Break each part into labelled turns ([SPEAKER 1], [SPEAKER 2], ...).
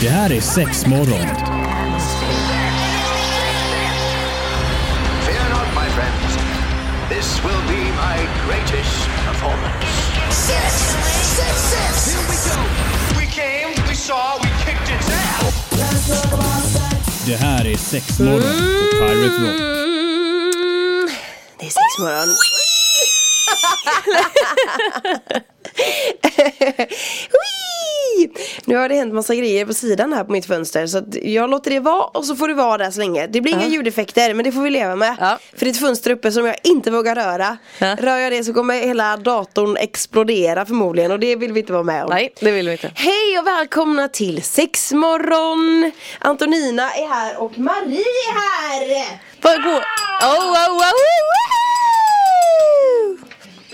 [SPEAKER 1] Det här är sex morgon.
[SPEAKER 2] Fear not, my friends. This will be my greatest performance.
[SPEAKER 3] Six, six, six.
[SPEAKER 2] We came, we saw, we kicked its ass.
[SPEAKER 1] Det här är sex morgon på Pirate Rock.
[SPEAKER 4] Mm, det är sex morgon. Whee! Nu har det hänt massa grejer på sidan här på mitt fönster så att jag låter det vara och så får det vara där så länge. Det blir inga ljudeffekter men det får vi leva med.
[SPEAKER 5] Ja.
[SPEAKER 4] För det är ett fönster uppe som jag inte vågar röra.
[SPEAKER 5] Ja.
[SPEAKER 4] Rör jag det så kommer hela datorn explodera förmodligen och det vill vi inte vara med om.
[SPEAKER 5] Nej, det vill vi inte.
[SPEAKER 4] Hej och välkomna till sexmorgon! Antonina är här och Marie är här!
[SPEAKER 5] Bara gå... Oh, oh, oh, oh, oh.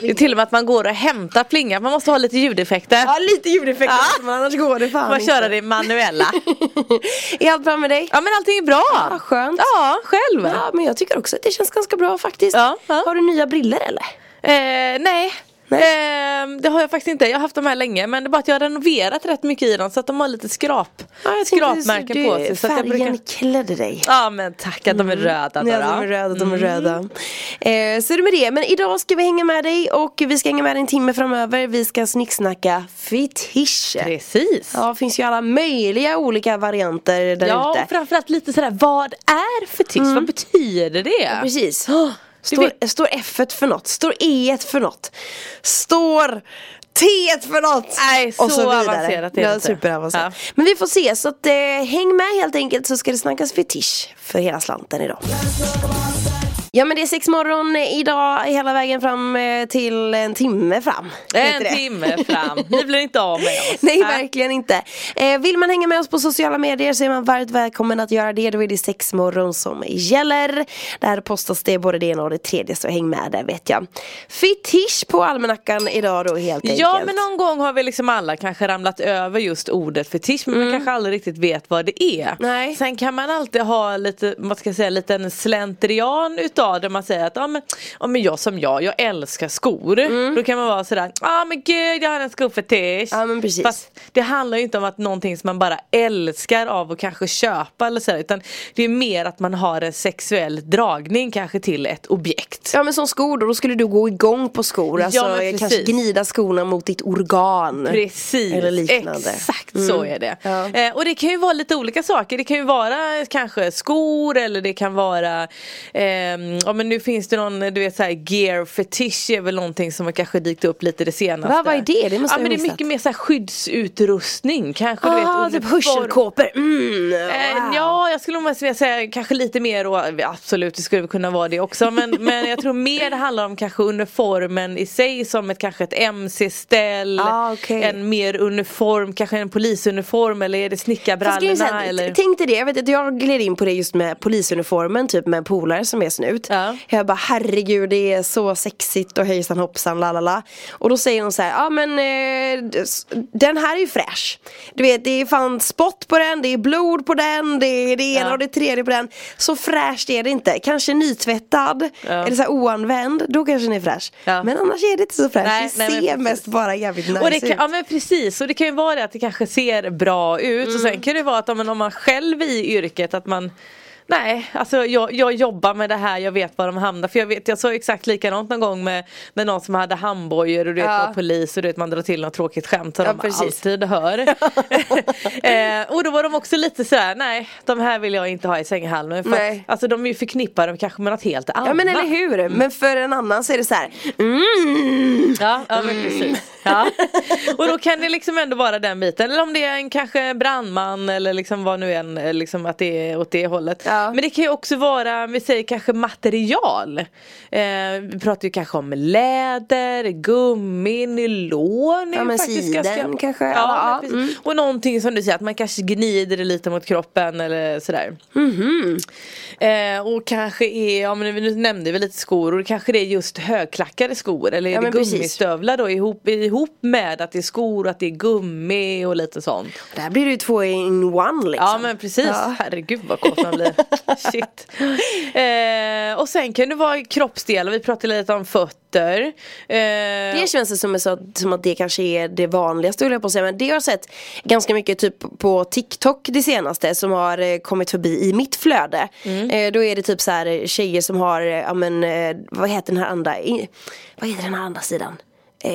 [SPEAKER 5] Det är till och med att man går och hämtar plingan. Man måste ha lite ljudeffekter.
[SPEAKER 4] Ja lite ljudeffekter
[SPEAKER 5] Ja.
[SPEAKER 4] måste man annars går det fan
[SPEAKER 5] Man
[SPEAKER 4] inte.
[SPEAKER 5] köra det manuella.
[SPEAKER 4] Är allt bra med dig?
[SPEAKER 5] Ja men allting är bra.
[SPEAKER 4] Ja, skönt.
[SPEAKER 5] Ja, själv.
[SPEAKER 4] Ja men jag tycker också att det känns ganska bra faktiskt.
[SPEAKER 5] Ja, ja.
[SPEAKER 4] Har du nya briller eller?
[SPEAKER 5] Eh, nej.
[SPEAKER 4] Nej.
[SPEAKER 5] Eh, det har jag faktiskt inte. Jag har haft dem här länge men det är bara att jag har renoverat rätt mycket i dem så att de har lite skrap,
[SPEAKER 4] Ja, jag tänkte-
[SPEAKER 5] skrapmärken
[SPEAKER 4] du-
[SPEAKER 5] på sig. Så att jag
[SPEAKER 4] Färgen
[SPEAKER 5] brukar...
[SPEAKER 4] klädde dig.
[SPEAKER 5] Ja men tack att de är röda Mm.
[SPEAKER 4] Ja,
[SPEAKER 5] då,
[SPEAKER 4] de
[SPEAKER 5] då.
[SPEAKER 4] är röda, de är röda. Eh, så är det med det. Men idag ska vi hänga med dig och vi ska hänga med dig en timme framöver. Vi ska snicksnacka fetischer.
[SPEAKER 5] Precis.
[SPEAKER 4] Ja, det finns ju alla möjliga olika varianter där
[SPEAKER 5] Ja,
[SPEAKER 4] ute.
[SPEAKER 5] och framförallt lite sådär, vad är fetisch? Vad betyder det?
[SPEAKER 4] Precis.
[SPEAKER 5] Du
[SPEAKER 4] Står, står F för något? Står E för något? Står T för något?
[SPEAKER 5] Nej,
[SPEAKER 4] Och
[SPEAKER 5] så avancerat är det
[SPEAKER 4] ja,
[SPEAKER 5] inte.
[SPEAKER 4] superavancerat.
[SPEAKER 5] Ja.
[SPEAKER 4] Men vi får se, så att, eh, häng med helt enkelt så ska det snackas fetisch för hela slanten idag. Ja men det är sex morgon eh, idag hela vägen fram eh, till en timme fram.
[SPEAKER 5] En
[SPEAKER 4] Heter det.
[SPEAKER 5] timme fram, ni blir inte av med oss.
[SPEAKER 4] Nej
[SPEAKER 5] Äh.
[SPEAKER 4] verkligen inte. Eh, vill man hänga med oss på sociala medier så är man varmt välkommen att göra det. Då är det sexmorgon som gäller. Där postas det både det ena och det tredje så häng med där vet jag. Fetisch på almanackan idag då helt enkelt.
[SPEAKER 5] Äh, Ja men någon gång har vi liksom alla kanske ramlat över just ordet fetisch men man kanske aldrig riktigt vet vad det är.
[SPEAKER 4] Mm. Nej.
[SPEAKER 5] Sen kan man alltid ha lite, vad ska jag säga, lite en slentrian utav det man säger att ja men, ja, men jag som jag, jag älskar skor. Då kan man vara sådär, ja men gud jag har en skofetisch.
[SPEAKER 4] Mm. Ja, men precis.
[SPEAKER 5] Fast det handlar ju inte om att någonting som man bara älskar av och kanske köpa eller sådär utan det är mer att man har en sexuell dragning kanske till ett objekt.
[SPEAKER 4] Ja men som skor då, då skulle du gå igång på skor. Alltså
[SPEAKER 5] men
[SPEAKER 4] eh,
[SPEAKER 5] precis.
[SPEAKER 4] kanske gnida skorna mot ditt organ.
[SPEAKER 5] Precis,
[SPEAKER 4] Eller liknande.
[SPEAKER 5] exakt
[SPEAKER 4] Mm.
[SPEAKER 5] så är det.
[SPEAKER 4] Ja.
[SPEAKER 5] Eh, och det kan ju vara lite olika saker. Det kan ju vara kanske skor eller det kan vara ehm, Ja men nu finns det någon, du vet såhär gear fetish är väl någonting som har kanske dykt upp lite det senaste.
[SPEAKER 4] Va, vad är det? Det måste
[SPEAKER 5] ja,
[SPEAKER 4] jag
[SPEAKER 5] men det
[SPEAKER 4] ha
[SPEAKER 5] är
[SPEAKER 4] missat.
[SPEAKER 5] mycket mer såhär skyddsutrustning kanske. du
[SPEAKER 4] Ah,
[SPEAKER 5] vet,
[SPEAKER 4] typ
[SPEAKER 5] uniform.
[SPEAKER 4] hörselkåpor. Mm,
[SPEAKER 5] Eh,
[SPEAKER 4] wow.
[SPEAKER 5] ja, jag skulle nog mest vilja säga kanske lite mer och absolut det skulle kunna vara det också men, men jag tror mer det handlar om kanske uniformen i sig som ett kanske ett mc-ställ
[SPEAKER 4] Ah, okej.
[SPEAKER 5] En mer uniform, kanske en polisuniform eller är det
[SPEAKER 4] Fast grejen är så
[SPEAKER 5] snickarbrallorna
[SPEAKER 4] här,
[SPEAKER 5] eller?
[SPEAKER 4] Tänk dig det, jag, vet, att jag gled in på det just med polisuniformen typ med en polare som är snut
[SPEAKER 5] Ja.
[SPEAKER 4] Jag bara herregud det är så sexigt och hejsan hoppsan lalala Och då säger hon så här, ja ah, men eh, d- s- den här är ju fräsch Du vet det är fan spott på den, det är blod på den, det är det ena
[SPEAKER 5] Ja.
[SPEAKER 4] och det tredje på den Så fräscht är det inte, kanske nytvättad eller så här oanvänd, då kanske den är fräsch
[SPEAKER 5] Ja.
[SPEAKER 4] Men annars är det inte så fräscht,
[SPEAKER 5] Nej,
[SPEAKER 4] det
[SPEAKER 5] nej, men
[SPEAKER 4] ser
[SPEAKER 5] precis.
[SPEAKER 4] mest bara jävligt nice
[SPEAKER 5] Och det kan,
[SPEAKER 4] ut
[SPEAKER 5] ja men precis, och det kan ju vara det att det kanske ser bra ut och
[SPEAKER 4] Mm.
[SPEAKER 5] sen kan det vara att ja, men om man själv i yrket att man Nej, alltså jag, jag jobbar med det här, jag vet var de hamnar. För jag vet, jag såg exakt likadant någon gång med, med någon som hade handbojor och du vet
[SPEAKER 4] Ja.
[SPEAKER 5] var polis och du vet man drar till något tråkigt skämt som
[SPEAKER 4] Ja,
[SPEAKER 5] de
[SPEAKER 4] precis.
[SPEAKER 5] alltid hör. eh, och då var de också lite sådär, nej de här vill jag inte ha i sänghalmen. För att,
[SPEAKER 4] Nej.
[SPEAKER 5] alltså de är ju förknippade kanske med något helt annat.
[SPEAKER 4] Ja men eller hur,
[SPEAKER 5] Mm.
[SPEAKER 4] men för en annan så är det så här. Mm.
[SPEAKER 5] Ja, ja men precis. Ja. Och då kan det liksom ändå vara den biten. Eller om det är en kanske brandman eller liksom vad nu än eh, liksom att det är åt det hållet.
[SPEAKER 4] Ja.
[SPEAKER 5] Men det kan ju också vara, vi säger kanske material. Eh, vi pratar ju kanske om läder, gummi, nylon. är
[SPEAKER 4] Ja,
[SPEAKER 5] ju
[SPEAKER 4] men
[SPEAKER 5] faktiskt
[SPEAKER 4] siden kanske,
[SPEAKER 5] Ja,
[SPEAKER 4] ja, Mm.
[SPEAKER 5] men precis. Och någonting som du säger att man kanske gnider det lite mot kroppen eller sådär. Eh, och kanske är, ja, men nu nämnde vi lite skor och kanske det är just högklackade skor eller
[SPEAKER 4] Ja,
[SPEAKER 5] är det
[SPEAKER 4] men precis.
[SPEAKER 5] gummistövlar då ihop, ihopklippta ihop med att det är skor och att det är gummi och lite sånt.
[SPEAKER 4] Där blir det ju två in one liksom.
[SPEAKER 5] Ja men precis,
[SPEAKER 4] Ja.
[SPEAKER 5] herregud vad kåt man blir. Shit. Eh, och sen kan det vara kroppsdelar, vi pratade lite om fötter. Eh,
[SPEAKER 4] Det känns det som, så, som att det kanske är det vanligaste höll jag på att säga Men det har jag sett ganska mycket typ på TikTok det senaste Som har eh, kommit förbi i mitt flöde eh, Då är det typ så här eh, tjejer som har, eh, ja men eh, vad heter den här andra I, Vad heter den här andra sidan? Eh,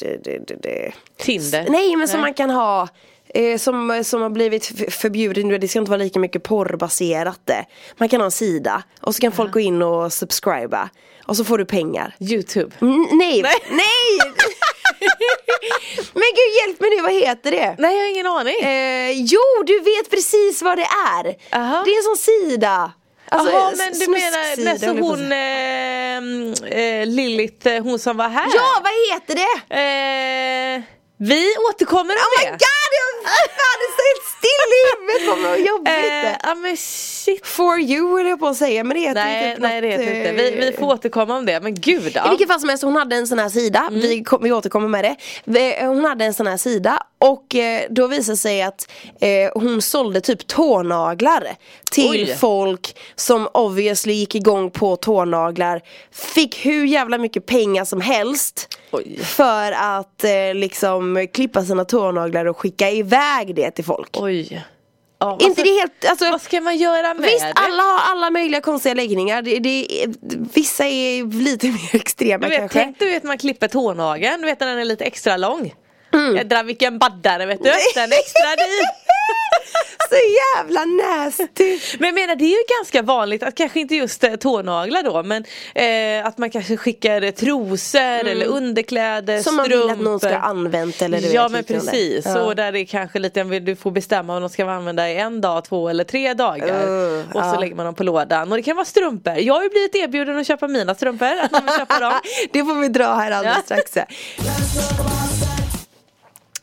[SPEAKER 4] d, d, d, d.
[SPEAKER 5] Tinder.
[SPEAKER 4] Nej men som man kan ha eh, som, som har blivit f- förbjuden, nu, det ska inte vara lika mycket porrbaserat eh. Man kan ha en sida och så kan folk gå in och subscriba Och så får du pengar
[SPEAKER 5] Youtube.
[SPEAKER 4] N- nej, nej!
[SPEAKER 5] Nej.
[SPEAKER 4] Men gud hjälp mig nu, vad heter det?
[SPEAKER 5] Nej jag har ingen aning.
[SPEAKER 4] Eh, jo, du vet precis vad det är!
[SPEAKER 5] Aha.
[SPEAKER 4] Det är en sån sida! Alltså,
[SPEAKER 5] Jaha
[SPEAKER 4] s-
[SPEAKER 5] men du
[SPEAKER 4] snusksida,
[SPEAKER 5] menar när så
[SPEAKER 4] höll jag på att
[SPEAKER 5] hon
[SPEAKER 4] säga.
[SPEAKER 5] eh, eh, Lilith, eh, hon som var här.
[SPEAKER 4] Ja, vad heter det?
[SPEAKER 5] Eh, vi återkommer om
[SPEAKER 4] Oh my
[SPEAKER 5] det.
[SPEAKER 4] god, jag fan, det står helt still i huvudet på mig, vad jobbigt!
[SPEAKER 5] Eh, ja men shit.
[SPEAKER 4] For you höll jag på att säga, men det heter ju
[SPEAKER 5] Nej,
[SPEAKER 4] typ
[SPEAKER 5] nej det
[SPEAKER 4] något,
[SPEAKER 5] heter inte.
[SPEAKER 4] eh,
[SPEAKER 5] Vi, vi får återkomma om det. Men gud
[SPEAKER 4] I
[SPEAKER 5] ja. Mm.
[SPEAKER 4] vilket fall som helst, hon hade en sån här sida, vi, kom, vi återkommer med det Vi- Hon hade en sån här sida och eh, då visade det sig att eh, hon sålde typ tånaglar Till
[SPEAKER 5] Oj.
[SPEAKER 4] folk som obviously gick igång på tånaglar Fick hur jävla mycket pengar som helst
[SPEAKER 5] Oj.
[SPEAKER 4] För att eh, liksom klippa sina tånaglar och skicka iväg det till folk
[SPEAKER 5] Oj. Ja, vad
[SPEAKER 4] Inte
[SPEAKER 5] ska-
[SPEAKER 4] det helt, alltså
[SPEAKER 5] Vad ska man göra med
[SPEAKER 4] Visst,
[SPEAKER 5] det?
[SPEAKER 4] alla har alla möjliga konstiga läggningar. Det, det, är- vissa är lite mer extrema
[SPEAKER 5] Du vet,
[SPEAKER 4] kanske.
[SPEAKER 5] tänk du vet man klipper tånageln, du vet när den är lite extra lång.
[SPEAKER 4] Mm.
[SPEAKER 5] Jädrar vilken baddare vet du, den är extra dyr.
[SPEAKER 4] Så jävla nasty!
[SPEAKER 5] Men jag menar det är ju ganska vanligt att kanske inte just eh, tånaglar då men eh, att man kanske skickar eh, trosor eller underkläder,
[SPEAKER 4] Mm. Som man
[SPEAKER 5] strumpor.
[SPEAKER 4] vill att någon ska ha använt eller du
[SPEAKER 5] Ja
[SPEAKER 4] vet,
[SPEAKER 5] men
[SPEAKER 4] liknande.
[SPEAKER 5] precis
[SPEAKER 4] Ja.
[SPEAKER 5] och där det är kanske lite, du får bestämma om de ska vara använda i en dag, två eller tre dagar.
[SPEAKER 4] Uh,
[SPEAKER 5] och så
[SPEAKER 4] ja.
[SPEAKER 5] lägger man dem på lådan och det kan vara strumpor. Jag har ju blivit erbjuden att köpa mina strumpor, att man vill köpa dem.
[SPEAKER 4] det får vi dra här alldeles
[SPEAKER 5] Ja.
[SPEAKER 4] strax.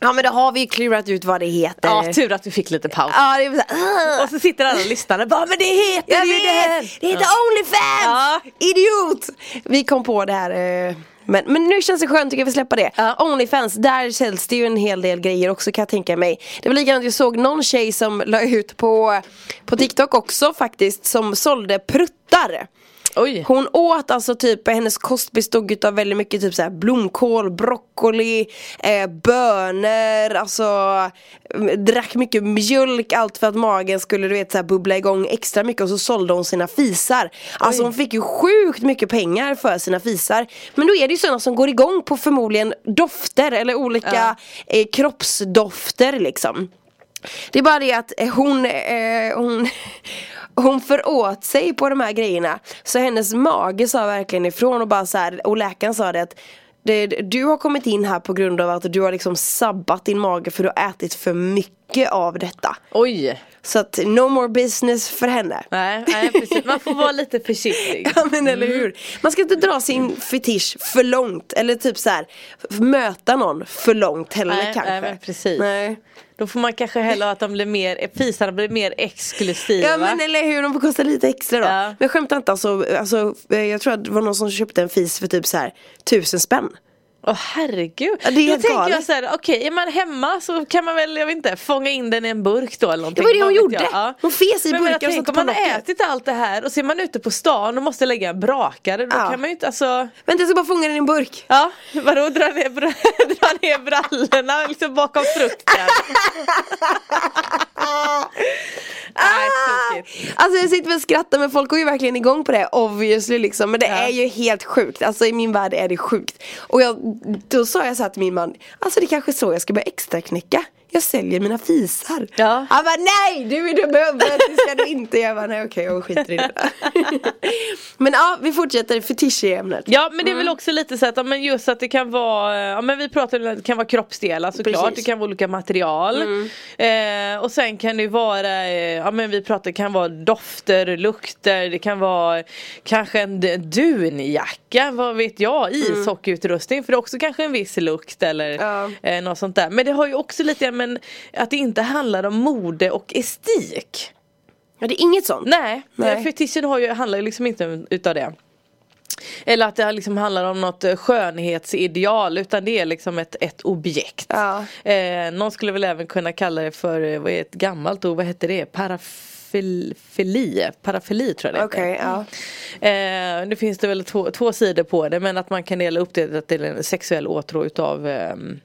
[SPEAKER 4] Ja men då har vi ju klurat ut vad det heter.
[SPEAKER 5] Ja tur att vi fick lite paus.
[SPEAKER 4] Ja, det är så här,
[SPEAKER 5] Och så sitter alla lyssnarna bara men det heter
[SPEAKER 4] Jag
[SPEAKER 5] ju
[SPEAKER 4] vet!
[SPEAKER 5] det!
[SPEAKER 4] Det heter Onlyfans!
[SPEAKER 5] Ja.
[SPEAKER 4] Idiot! Vi kom på det här eh, men, men nu känns det skönt, tycker jag vi släpper det.
[SPEAKER 5] Ja.
[SPEAKER 4] Onlyfans, där säljs det ju en hel del grejer också kan jag tänka mig. Det var likadant, jag såg någon tjej som la ut på, på TikTok också faktiskt som sålde pruttar.
[SPEAKER 5] Oj.
[SPEAKER 4] Hon åt alltså typ, hennes kost bestod av väldigt mycket typ så här blomkål, broccoli, eh, bönor, alltså mm, drack mycket mjölk, allt för att magen skulle du vet så här, bubbla igång extra mycket och så sålde hon sina fisar. Alltså hon fick ju sjukt mycket pengar för sina fisar. Men då är det ju sådana som går igång på förmodligen dofter eller olika eh, kroppsdofter liksom. Det är bara det att eh, hon, eh, hon, hon föråt sig på de här grejerna Så hennes mage sa verkligen ifrån och bara så här, och läkaren sa det att det, du har kommit in här på grund av att du har liksom sabbat din mage för du har ätit för mycket av detta
[SPEAKER 5] Oj.
[SPEAKER 4] Så att no more business för henne
[SPEAKER 5] Nej, nej precis. Man får vara lite försiktig.
[SPEAKER 4] Ja men eller hur Man ska inte dra
[SPEAKER 5] Mm.
[SPEAKER 4] sin fetisch för långt eller typ så här f- möta någon för långt heller
[SPEAKER 5] Nej, nej,
[SPEAKER 4] kanske
[SPEAKER 5] men precis.
[SPEAKER 4] Nej.
[SPEAKER 5] Då får man kanske hellre att de blir mer, fisarna blir mer exklusiva.
[SPEAKER 4] Ja men eller hur, de får kosta lite extra då.
[SPEAKER 5] Ja.
[SPEAKER 4] Men jag skämtar inte alltså, alltså, eh, jag tror att det var någon som köpte en fis för typ så här tusen spänn.
[SPEAKER 5] Åh herregud.
[SPEAKER 4] Ja, det är
[SPEAKER 5] då
[SPEAKER 4] helt
[SPEAKER 5] tänker
[SPEAKER 4] galet.
[SPEAKER 5] jag så här, okej är man hemma så kan man väl, jag vet inte, fånga in den i en burk då eller någonting.
[SPEAKER 4] Det var det hon
[SPEAKER 5] Vad vet
[SPEAKER 4] gjorde.
[SPEAKER 5] jag.
[SPEAKER 4] Hon fes i
[SPEAKER 5] men jag
[SPEAKER 4] burkar och
[SPEAKER 5] tänker,
[SPEAKER 4] satte
[SPEAKER 5] om man
[SPEAKER 4] på
[SPEAKER 5] har
[SPEAKER 4] locket.
[SPEAKER 5] ätit allt det här och ser man ute på stan och måste lägga en brakare då
[SPEAKER 4] Ja.
[SPEAKER 5] kan man ju inte, alltså
[SPEAKER 4] Vänta jag ska bara fånga den i en burk.
[SPEAKER 5] Ja, vadå dra ner, bra, dra ner brallorna liksom bakom frukten? Nej, tokigt.
[SPEAKER 4] Ah! Alltså jag sitter och skrattar men folk går ju verkligen igång på det obviously liksom Men det
[SPEAKER 5] Ja.
[SPEAKER 4] är ju helt sjukt, alltså i min värld är det sjukt Och jag, då sa jag så här till min man Alltså det är kanske är så jag ska börja extra knäcka Jag säljer mina fisar
[SPEAKER 5] Ja.
[SPEAKER 4] Han bara nej du är dum i huvudet, det ska du inte Jag bara nej okej jag skiter i det Men ja vi fortsätter fetisch i ämnet
[SPEAKER 5] Ja men det är väl
[SPEAKER 4] Mm.
[SPEAKER 5] också lite så att, ja, men just att det kan vara, ja men vi pratade om att det kan vara kroppsdelar såklart,
[SPEAKER 4] Precis. Mm.
[SPEAKER 5] det kan vara olika material eh, Och sen kan det vara, eh, ja men vi pratade, det kan vara dofter, lukter, det kan vara kanske en d- dunjacka, vad vet jag, ishockeyutrustning för det är också kanske en viss lukt eller
[SPEAKER 4] Mm. Ja.
[SPEAKER 5] eh, något sånt där Men det har ju också lite, men att det inte handlar om mode och estetik
[SPEAKER 4] Ja det är inget sånt
[SPEAKER 5] Nej,
[SPEAKER 4] Nej.
[SPEAKER 5] Nej. fetischen har ju, handlar ju liksom inte om, utav det Eller att det liksom handlar om något eh, skönhetsideal utan det är liksom ett, ett objekt.
[SPEAKER 4] Ja.
[SPEAKER 5] Eh, någon skulle väl även kunna kalla det för, eh, vad är ett gammalt ord, vad hette det? Parafili, parafili tror jag det
[SPEAKER 4] Okej,
[SPEAKER 5] heter.
[SPEAKER 4] ja.
[SPEAKER 5] Eh, nu finns det väl två, två sidor på det men att man kan dela upp det till en sexuell åtrå utav ehm,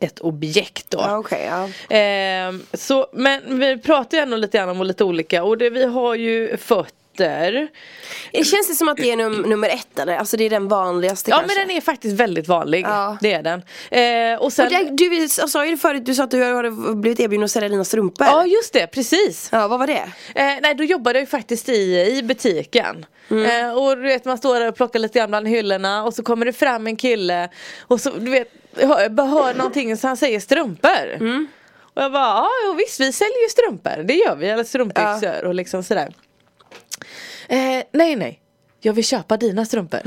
[SPEAKER 5] ett objekt då.
[SPEAKER 4] Ja, okej, ja.
[SPEAKER 5] Ehm, så, men vi pratar ju ändå lite grann om lite olika och det, vi har ju fötter.
[SPEAKER 4] Det känns det som att det är num- nummer ett eller? Alltså det är den vanligaste
[SPEAKER 5] Ja
[SPEAKER 4] kanske.
[SPEAKER 5] men den är faktiskt väldigt vanlig.
[SPEAKER 4] Ja.
[SPEAKER 5] Det är den. Ehm, och sen,
[SPEAKER 4] Och det, du jag sa ju det förut, du sa att du har blivit erbjuden att sälja dina strumpor.
[SPEAKER 5] Ja just det, precis.
[SPEAKER 4] Ja, vad var det?
[SPEAKER 5] Eh, nej då jobbade jag ju faktiskt i, i butiken. Eh, och du vet man står där och plockar lite grann bland hyllorna och så kommer det fram en kille och så du vet, hör, jag bara hör någonting så han säger strumpor. Och jag bara, ja jo, visst vi säljer ju strumpor, det gör vi, eller strumpbyxor och liksom sådär. Eh, nej nej, jag vill köpa dina strumpor.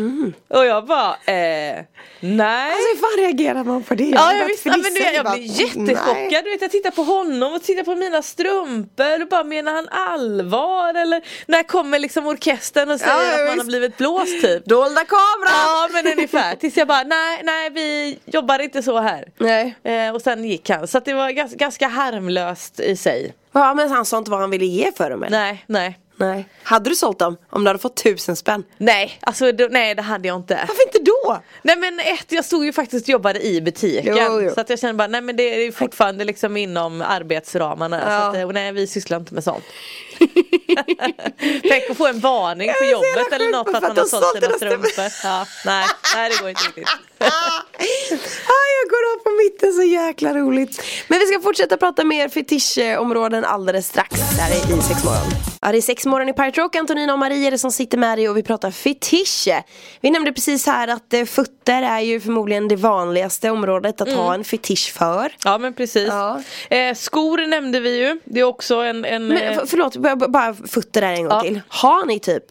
[SPEAKER 5] Och jag bara, eh, nej.
[SPEAKER 4] Alltså hur fan reagerar man på det?
[SPEAKER 5] Ja,
[SPEAKER 4] Jag bara
[SPEAKER 5] jag, visste, ja, men du,
[SPEAKER 4] fnissar,
[SPEAKER 5] vet, jag
[SPEAKER 4] bara,
[SPEAKER 5] blev jättechockad.
[SPEAKER 4] nej.
[SPEAKER 5] Du vet, jag tittar på honom och tittar på mina strumpor och bara menar han allvar? Eller när kommer liksom orkestern och säger
[SPEAKER 4] Ja, ja,
[SPEAKER 5] att man har
[SPEAKER 4] visst.
[SPEAKER 5] blivit blåst typ?
[SPEAKER 4] Dolda kameran!
[SPEAKER 5] Ja men ungefär, tills jag bara nej, nej vi jobbar inte så här.
[SPEAKER 4] Nej.
[SPEAKER 5] Eh, och sen gick han, så att det var gans, ganska harmlöst i sig.
[SPEAKER 4] Ja, men han sa inte vad han ville ge för dem eller?
[SPEAKER 5] Nej, nej.
[SPEAKER 4] Nej. Hade du sålt dem om du hade fått tusen spänn?
[SPEAKER 5] Nej, alltså då, nej det hade jag inte.
[SPEAKER 4] Varför inte då?
[SPEAKER 5] Nej men ett, jag stod ju faktiskt och jobbade i butiken
[SPEAKER 4] Jo, jo.
[SPEAKER 5] så att jag kände bara nej men det är ju fortfarande liksom inom arbetsramarna
[SPEAKER 4] Ja.
[SPEAKER 5] så att, eh, och nej vi sysslar inte med sånt. Tänk att få en varning på
[SPEAKER 4] Jag är så jävla
[SPEAKER 5] jobbet eller
[SPEAKER 4] sjuk
[SPEAKER 5] något
[SPEAKER 4] på
[SPEAKER 5] för
[SPEAKER 4] för
[SPEAKER 5] att man har
[SPEAKER 4] att de
[SPEAKER 5] sålt sina
[SPEAKER 4] sålde deras
[SPEAKER 5] strumpor. Ja, nej, nej det går inte riktigt.
[SPEAKER 4] ah, jag går av på mitten, så jäkla roligt. Men vi ska fortsätta prata mer fetischområden alldeles strax. Där är i sexmorgon. Ja, det är sexmorgon i Pirate Rock. Antonina och Marie är det som sitter med dig och vi pratar fetisch. Vi nämnde precis här att eh, fötter är ju förmodligen det vanligaste området att ha
[SPEAKER 5] Mm.
[SPEAKER 4] en fetisch för.
[SPEAKER 5] Ja men precis.
[SPEAKER 4] Ja.
[SPEAKER 5] Eh, skor nämnde vi ju, det är också en, en
[SPEAKER 4] Men
[SPEAKER 5] eh,
[SPEAKER 4] f- förlåt, b- b- bara fötter där en gång
[SPEAKER 5] Ja.
[SPEAKER 4] till. Har ni typ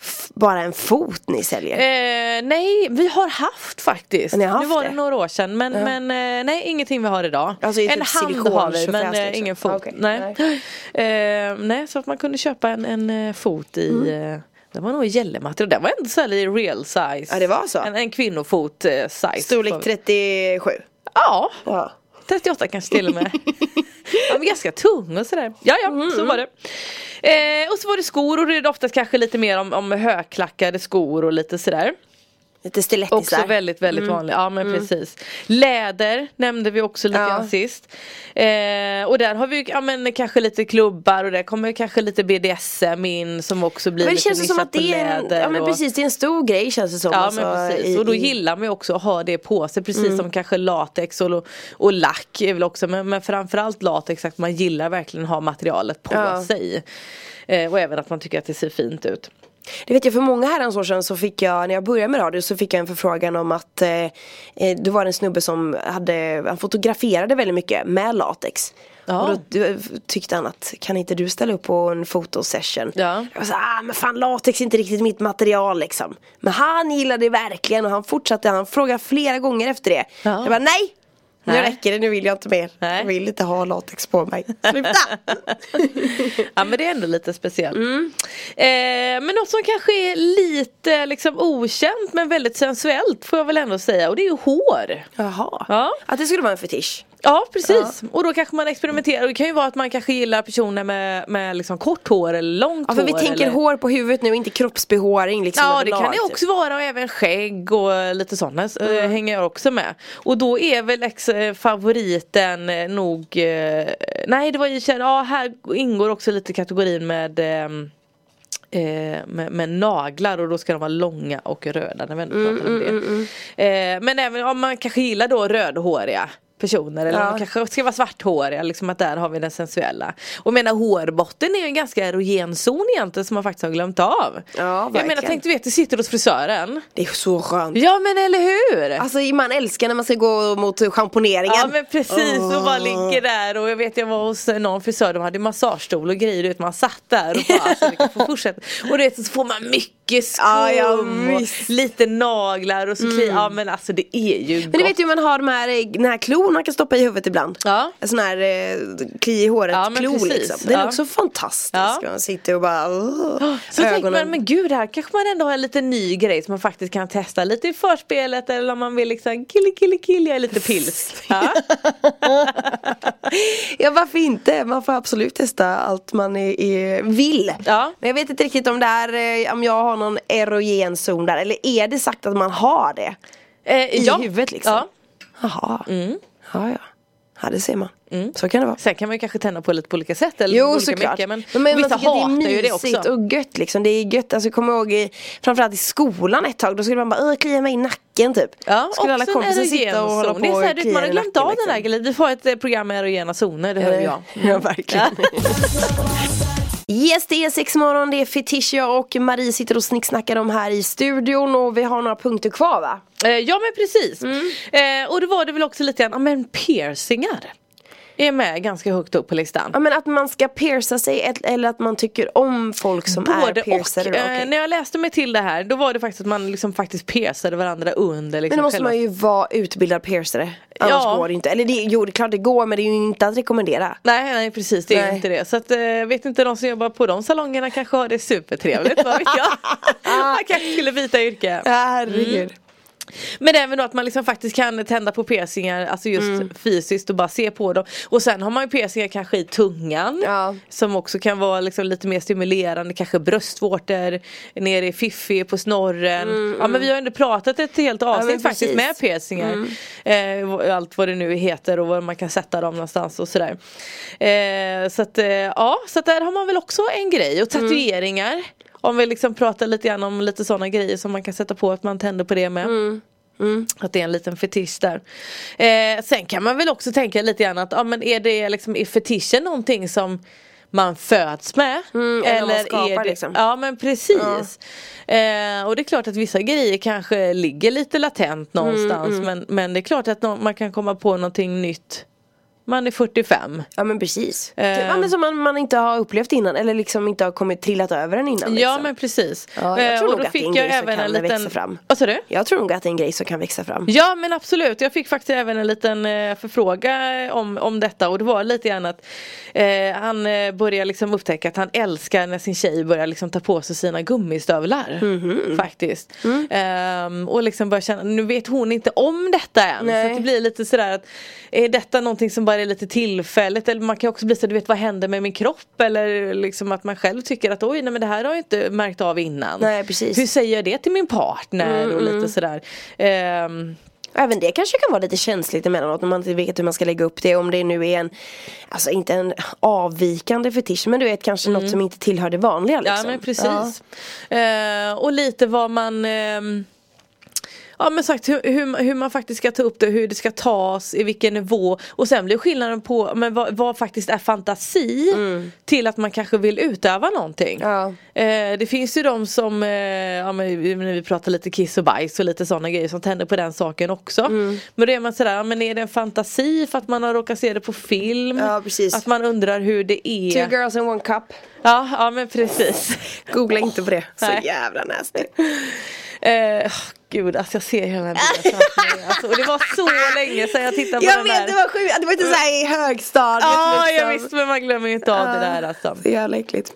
[SPEAKER 4] f- bara en fot ni säljer?
[SPEAKER 5] Eh, nej, vi har haft faktiskt.
[SPEAKER 4] Ni har haft
[SPEAKER 5] nu var det
[SPEAKER 4] det?
[SPEAKER 5] några år sedan men, men eh, nej ingenting vi har idag.
[SPEAKER 4] Alltså, det är
[SPEAKER 5] en
[SPEAKER 4] typ
[SPEAKER 5] hand
[SPEAKER 4] silikon,
[SPEAKER 5] har vi men
[SPEAKER 4] tjofräs,
[SPEAKER 5] eh,
[SPEAKER 4] liksom.
[SPEAKER 5] ingen fot.
[SPEAKER 4] Ah, okej.
[SPEAKER 5] Nej. Eh, nej, så att man kunde köpa en, en eh, fot i
[SPEAKER 4] Mm.
[SPEAKER 5] eh, det var nog i gällematerial, det var ändå så här i real size.
[SPEAKER 4] Ja, det var så.
[SPEAKER 5] En, en kvinnofot eh, size.
[SPEAKER 4] Storlek 37.
[SPEAKER 5] Ja,
[SPEAKER 4] Ja.
[SPEAKER 5] 38 kanske till och med. ja, men ganska tung och sådär. Ja, ja,
[SPEAKER 4] Mm.
[SPEAKER 5] så var det. Eh, och så var det skor och det är oftast kanske lite mer om, om högklackade skor och lite sådär.
[SPEAKER 4] Lite
[SPEAKER 5] Också
[SPEAKER 4] stilettisar.
[SPEAKER 5] väldigt väldigt
[SPEAKER 4] Mm.
[SPEAKER 5] vanlig, ja men precis Läder nämnde vi också lite
[SPEAKER 4] Ja.
[SPEAKER 5] grann sist eh, Och där har vi ju, ja, men, kanske lite klubbar och där kommer kanske lite BDSM in som också blir
[SPEAKER 4] Men det
[SPEAKER 5] lite
[SPEAKER 4] känns ju som
[SPEAKER 5] nissat
[SPEAKER 4] att det
[SPEAKER 5] på
[SPEAKER 4] är en,
[SPEAKER 5] läder
[SPEAKER 4] ja, men
[SPEAKER 5] och-
[SPEAKER 4] precis, det är en stor grej känns det som.
[SPEAKER 5] Ja
[SPEAKER 4] alltså,
[SPEAKER 5] men precis,
[SPEAKER 4] i-
[SPEAKER 5] och då
[SPEAKER 4] i- Mm.
[SPEAKER 5] gillar man ju också att ha det på sig precis som kanske latex och, och lack är väl också men, men framförallt latex att man gillar verkligen att ha materialet på
[SPEAKER 4] Ja.
[SPEAKER 5] sig eh, Och även att man tycker att det ser fint ut
[SPEAKER 4] Det vet jag för många herrans år sedan så fick jag, när jag började med radio så fick jag en förfrågan om att eh, eh, Då var det en snubbe som hade, han fotograferade väldigt mycket med latex
[SPEAKER 5] Ja.
[SPEAKER 4] Och då du, tyckte han att kan inte du ställa upp på en fotosession?
[SPEAKER 5] Ja.
[SPEAKER 4] Jag var så, ah men fan latex är inte riktigt mitt material liksom Men han gillade det verkligen och han fortsatte, han frågade flera gånger efter det
[SPEAKER 5] Ja.
[SPEAKER 4] Jag bara nej! Nu
[SPEAKER 5] Nej.
[SPEAKER 4] räcker det, nu vill jag inte mer.
[SPEAKER 5] Nej.
[SPEAKER 4] Jag vill inte ha latex på mig. Sluta!
[SPEAKER 5] Ja men det är ändå lite speciellt.
[SPEAKER 4] Mm.
[SPEAKER 5] Eh, men något som kanske är lite liksom okänt men väldigt sensuellt får jag väl ändå säga och det är ju hår.
[SPEAKER 4] Jaha.
[SPEAKER 5] Ja.
[SPEAKER 4] Att det skulle vara en fetisch.
[SPEAKER 5] Ja precis och då kanske man experimenterar och det kan ju vara att man kanske gillar personer med, med liksom kort hår eller långt
[SPEAKER 4] Ja för vi
[SPEAKER 5] hår.
[SPEAKER 4] tänker
[SPEAKER 5] eller...
[SPEAKER 4] hår på huvudet nu, inte kroppsbehåring liksom
[SPEAKER 5] Ja det
[SPEAKER 4] överlag,
[SPEAKER 5] kan det
[SPEAKER 4] typ. Mm.
[SPEAKER 5] också vara och även skägg och lite sådana eh, hänger jag också med. Och då är väl ex- eh, favoriten eh, nog eh, Nej det var i ja här ingår också lite kategorin med ehm, eh, med, med naglar och då ska de vara långa och röda när vi ändå
[SPEAKER 4] Mm,
[SPEAKER 5] pratar om det. Eh, men även om man kanske gillar då rödhåriga personer eller
[SPEAKER 4] Ja.
[SPEAKER 5] om de kanske ska vara svarthåriga liksom att där har vi den sensuella. Och jag menar hårbotten är ju en ganska erogen zon egentligen som man faktiskt har glömt av. jag menar
[SPEAKER 4] verkligen.
[SPEAKER 5] tänk du vet du sitter hos frisören.
[SPEAKER 4] Det är så skönt.
[SPEAKER 5] Ja men eller hur!
[SPEAKER 4] Alltså man älskar när man ska gå mot schamponeringen.
[SPEAKER 5] Ja men precis och bara ligger där och jag vet jag var hos någon frisör de hade massagestol och grejer du vet man satt där och bara alltså, vi kan få fortsätta. Och du vet så får man mycket mycket skum
[SPEAKER 4] Ja, ja,
[SPEAKER 5] och
[SPEAKER 4] visst. Mm.
[SPEAKER 5] lite naglar och så kli, Ja men alltså det är ju
[SPEAKER 4] Men
[SPEAKER 5] gott.
[SPEAKER 4] ni vet ju hur man har de här, eh, den här klon man kan stoppa i huvudet ibland.
[SPEAKER 5] Ja.
[SPEAKER 4] En sån här eh, kli i håret
[SPEAKER 5] Ja, men
[SPEAKER 4] klo
[SPEAKER 5] precis.
[SPEAKER 4] liksom. Den är
[SPEAKER 5] Ja.
[SPEAKER 4] också fantastisk.
[SPEAKER 5] Ja.
[SPEAKER 4] Man sitter och bara åh,
[SPEAKER 5] Så tänker
[SPEAKER 4] ögonen.
[SPEAKER 5] man, men gud här kanske man ändå har en liten ny grej som man faktiskt kan testa lite i förspelet eller om man vill liksom kille kille kille, jag är lite pilsk. Ja.
[SPEAKER 4] Ja varför inte? Man får absolut testa allt man är, är, vill.
[SPEAKER 5] Ja.
[SPEAKER 4] Men jag vet inte riktigt om det är, eh, om jag har någon erogen zon där. Eller är det sagt att man har det?
[SPEAKER 5] Eh,
[SPEAKER 4] I huvudet liksom.
[SPEAKER 5] Ja.
[SPEAKER 4] Jaha.
[SPEAKER 5] Mm.
[SPEAKER 4] Ja, ja. Ja det ser man. Så kan det vara.
[SPEAKER 5] Sen kan man ju kanske tända på lite på olika sätt eller på
[SPEAKER 4] Jo
[SPEAKER 5] Mm. olika
[SPEAKER 4] såklart.
[SPEAKER 5] mycket, men,
[SPEAKER 4] Men, man
[SPEAKER 5] vissa
[SPEAKER 4] tycker att
[SPEAKER 5] hatar ju det
[SPEAKER 4] mysigt
[SPEAKER 5] också.
[SPEAKER 4] och gött liksom. Det är gött, alltså kom ihåg i, framförallt i skolan ett tag. Då skulle man bara "Åh, klia mig i nacken typ.
[SPEAKER 5] Ja,
[SPEAKER 4] skulle alla
[SPEAKER 5] också en
[SPEAKER 4] kompisar sitta
[SPEAKER 5] erogen
[SPEAKER 4] och hålla
[SPEAKER 5] zon.
[SPEAKER 4] på
[SPEAKER 5] Det är så här,
[SPEAKER 4] och
[SPEAKER 5] du,
[SPEAKER 4] klia
[SPEAKER 5] man
[SPEAKER 4] i
[SPEAKER 5] har glömt
[SPEAKER 4] nacken,
[SPEAKER 5] av den här
[SPEAKER 4] liksom. Eh.
[SPEAKER 5] grejen. Vi får ett eh, program med erogena zoner, det hör ju jag.
[SPEAKER 4] Ja, verkligen. Yes, det är sex morgon, det är Fetish jag och Marie sitter och snicksnackar om här i studion och vi har några punkter kvar va?
[SPEAKER 5] Eh, Ja men precis.
[SPEAKER 4] Mm.
[SPEAKER 5] Eh, och då var det väl också lite grann, ja men piercingar. Är med ganska högt upp på listan.
[SPEAKER 4] Ja men att man ska pierca sig ett- eller att man tycker om folk som
[SPEAKER 5] Både
[SPEAKER 4] är piercade.
[SPEAKER 5] och.
[SPEAKER 4] då,
[SPEAKER 5] Eh,
[SPEAKER 4] okej.
[SPEAKER 5] När jag läste mig till det här då var det faktiskt att man liksom faktiskt piercade varandra under liksom
[SPEAKER 4] Men då måste
[SPEAKER 5] själva-
[SPEAKER 4] man ju vara utbildad piercare. Annars
[SPEAKER 5] Ja.
[SPEAKER 4] går det inte. Eller det, jo det är klart det går men det är ju inte att rekommendera.
[SPEAKER 5] Nej, nej precis det är
[SPEAKER 4] Nej.
[SPEAKER 5] ju inte det. Så att, eh, vet inte de som jobbar på de salongerna kanske har det supertrevligt, vad vet jag. man kanske skulle byta yrke.
[SPEAKER 4] Herregud.
[SPEAKER 5] Men även då att man liksom faktiskt kan tända på piercingar, alltså just
[SPEAKER 4] Mm.
[SPEAKER 5] fysiskt och bara se på dem. Och sen har man ju piercingar kanske i tungan.
[SPEAKER 4] Ja.
[SPEAKER 5] Som också kan vara liksom lite mer stimulerande, kanske bröstvårtor, nere i fiffi, på snorren. ja men vi har ju ändå pratat ett helt avsnitt
[SPEAKER 4] Mm, men
[SPEAKER 5] faktiskt med
[SPEAKER 4] precis. Mm.
[SPEAKER 5] piercingar. Eh, och allt vad det nu heter och var man kan sätta dem någonstans och sådär. Eh, så att eh, ja, så att där har man väl också en grej. Och tatueringar.
[SPEAKER 4] Mm.
[SPEAKER 5] Om vi liksom pratar lite grann om lite sådana grejer som man kan sätta på att man tänder på det med.
[SPEAKER 4] Mm.
[SPEAKER 5] Att det är en liten fetisch där. Eh, sen kan man väl också tänka lite grann att ja, men är, det liksom, är fetischen någonting som man föds med?
[SPEAKER 4] eller Mm, man skapar liksom.
[SPEAKER 5] Ja men precis. Eh, och det är klart att vissa grejer kanske ligger lite latent
[SPEAKER 4] Mm,
[SPEAKER 5] någonstans. Men, men det är klart att nå- man kan komma på någonting nytt. Man är 45.
[SPEAKER 4] Ja men precis.
[SPEAKER 5] Eh.
[SPEAKER 4] Typ, ja, men som man, man inte har upplevt innan eller liksom inte har kommit trillat över den innan.
[SPEAKER 5] Ja
[SPEAKER 4] liksom.
[SPEAKER 5] men precis. Eh,
[SPEAKER 4] Ja, jag tror
[SPEAKER 5] och
[SPEAKER 4] nog
[SPEAKER 5] då
[SPEAKER 4] att det är
[SPEAKER 5] fick
[SPEAKER 4] en
[SPEAKER 5] jag
[SPEAKER 4] grej som
[SPEAKER 5] även
[SPEAKER 4] kan
[SPEAKER 5] en liten...
[SPEAKER 4] växa fram.
[SPEAKER 5] Vad sa du?
[SPEAKER 4] Jag tror nog att det är en grej som kan växa fram.
[SPEAKER 5] Ja men absolut, jag fick faktiskt även en liten eh, förfråga om, om detta och det var lite grann att eh, han eh, börjar liksom upptäcka att han älskar när sin tjej börjar liksom ta på sig sina gummistövlar. Faktiskt. Ehm, och liksom börjar känna, nu vet hon inte om detta än. Så
[SPEAKER 4] Nej.
[SPEAKER 5] att det blir lite sådär att är detta någonting som bara är lite tillfälligt eller man kan också bli så du vet vad händer med min kropp eller liksom att man själv tycker att oj nej men det här har jag inte märkt av innan.
[SPEAKER 4] Nej, precis. Mm,
[SPEAKER 5] Hur säger jag det till min partner och lite sådär. Ehm,
[SPEAKER 4] Även det kanske kan vara lite känsligt emellanåt när man inte vet hur man ska lägga upp det. Om det nu är en, alltså inte en avvikande fetisch men du vet kanske något som inte tillhör det vanliga liksom.
[SPEAKER 5] Mm. Ja men precis. Eh, och lite vad man ehm, Ja men sagt hur, hur, hur man faktiskt ska ta upp det, hur det ska tas, i vilken nivå och sen blir skillnaden på men vad, vad faktiskt är fantasi till att man kanske vill utöva någonting.
[SPEAKER 4] Mm. Ja.
[SPEAKER 5] Eh, det finns ju de som, eh, ja, men, vi- när vi pratar lite kiss och bajs och lite sådana grejer som tänder på den saken också.
[SPEAKER 4] Mm.
[SPEAKER 5] Men då är man sådär, ja, men är det en fantasi för att man har råkat se det på film?
[SPEAKER 4] Ja, precis.
[SPEAKER 5] Att man undrar hur det är.
[SPEAKER 4] Two girls and one cup.
[SPEAKER 5] Ja, ja men precis.
[SPEAKER 4] Googla inte på det. Så
[SPEAKER 5] Nej.
[SPEAKER 4] jävla nasty.
[SPEAKER 5] Eh, åh, gud, alltså jag ser hela den här bilden framför mig. alltså, Och det var så länge sedan jag tittade på
[SPEAKER 4] Jag
[SPEAKER 5] den
[SPEAKER 4] vet, det
[SPEAKER 5] där.
[SPEAKER 4] var sjukt. Det var inte såhär i högstadiet
[SPEAKER 5] Ja,
[SPEAKER 4] liksom.
[SPEAKER 5] jag visste men man glömmer ju inte av det där alltså.
[SPEAKER 4] Så jävla äckligt.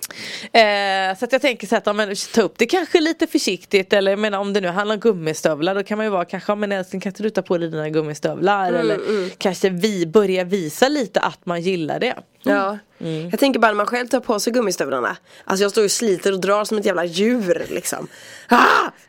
[SPEAKER 5] Eh, så att jag tänker så att om man ta upp det kanske lite försiktigt eller jag menar, om det nu handlar om gummistövlar då kan man ju vara kanske, "Ja, men älskling kan inte du ta på dig dina gummistövlar eller kanske vi börja visa lite att man gillar det.
[SPEAKER 4] Ja. Mm.
[SPEAKER 5] Mm.
[SPEAKER 4] Jag tänker bara när man själv tar på sig gummistövlarna. Alltså jag står och sliter och drar som ett jävla djur liksom. Ah!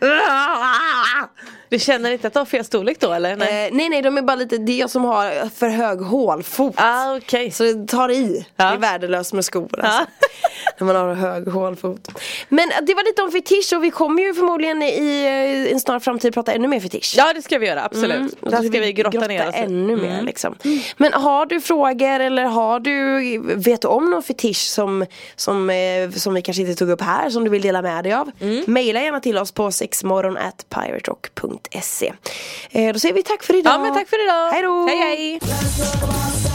[SPEAKER 4] Ah! Ah!
[SPEAKER 5] Du känner inte att det har fel storlek då eller? Nej.
[SPEAKER 4] Eh, nej nej de är bara lite, det är jag som har för hög hålfot.
[SPEAKER 5] Ah, okej.
[SPEAKER 4] Så det tar i.
[SPEAKER 5] Ja.
[SPEAKER 4] Det är värdelöst med skor alltså. När man har hög hålfot. Men eh, det var lite om fetisch och vi kommer ju förmodligen i eh, en snar framtid prata ännu mer fetisch.
[SPEAKER 5] Ja det ska vi göra, absolut.
[SPEAKER 4] Mm, och
[SPEAKER 5] Där
[SPEAKER 4] då
[SPEAKER 5] ska vi grotta, ner oss. Mm. i.
[SPEAKER 4] ännu mer liksom. Men har du frågor eller har du, vet du om någon fetisch som, som, eh, som vi kanske inte tog upp här som du vill dela med dig av?
[SPEAKER 5] Mm.
[SPEAKER 4] Maila gärna till oss på sexmorgon at piraterock.se eh, Då säger vi tack för idag.
[SPEAKER 5] Ja men tack för idag.
[SPEAKER 4] Hej då.
[SPEAKER 5] Hej hej.
[SPEAKER 3] That's the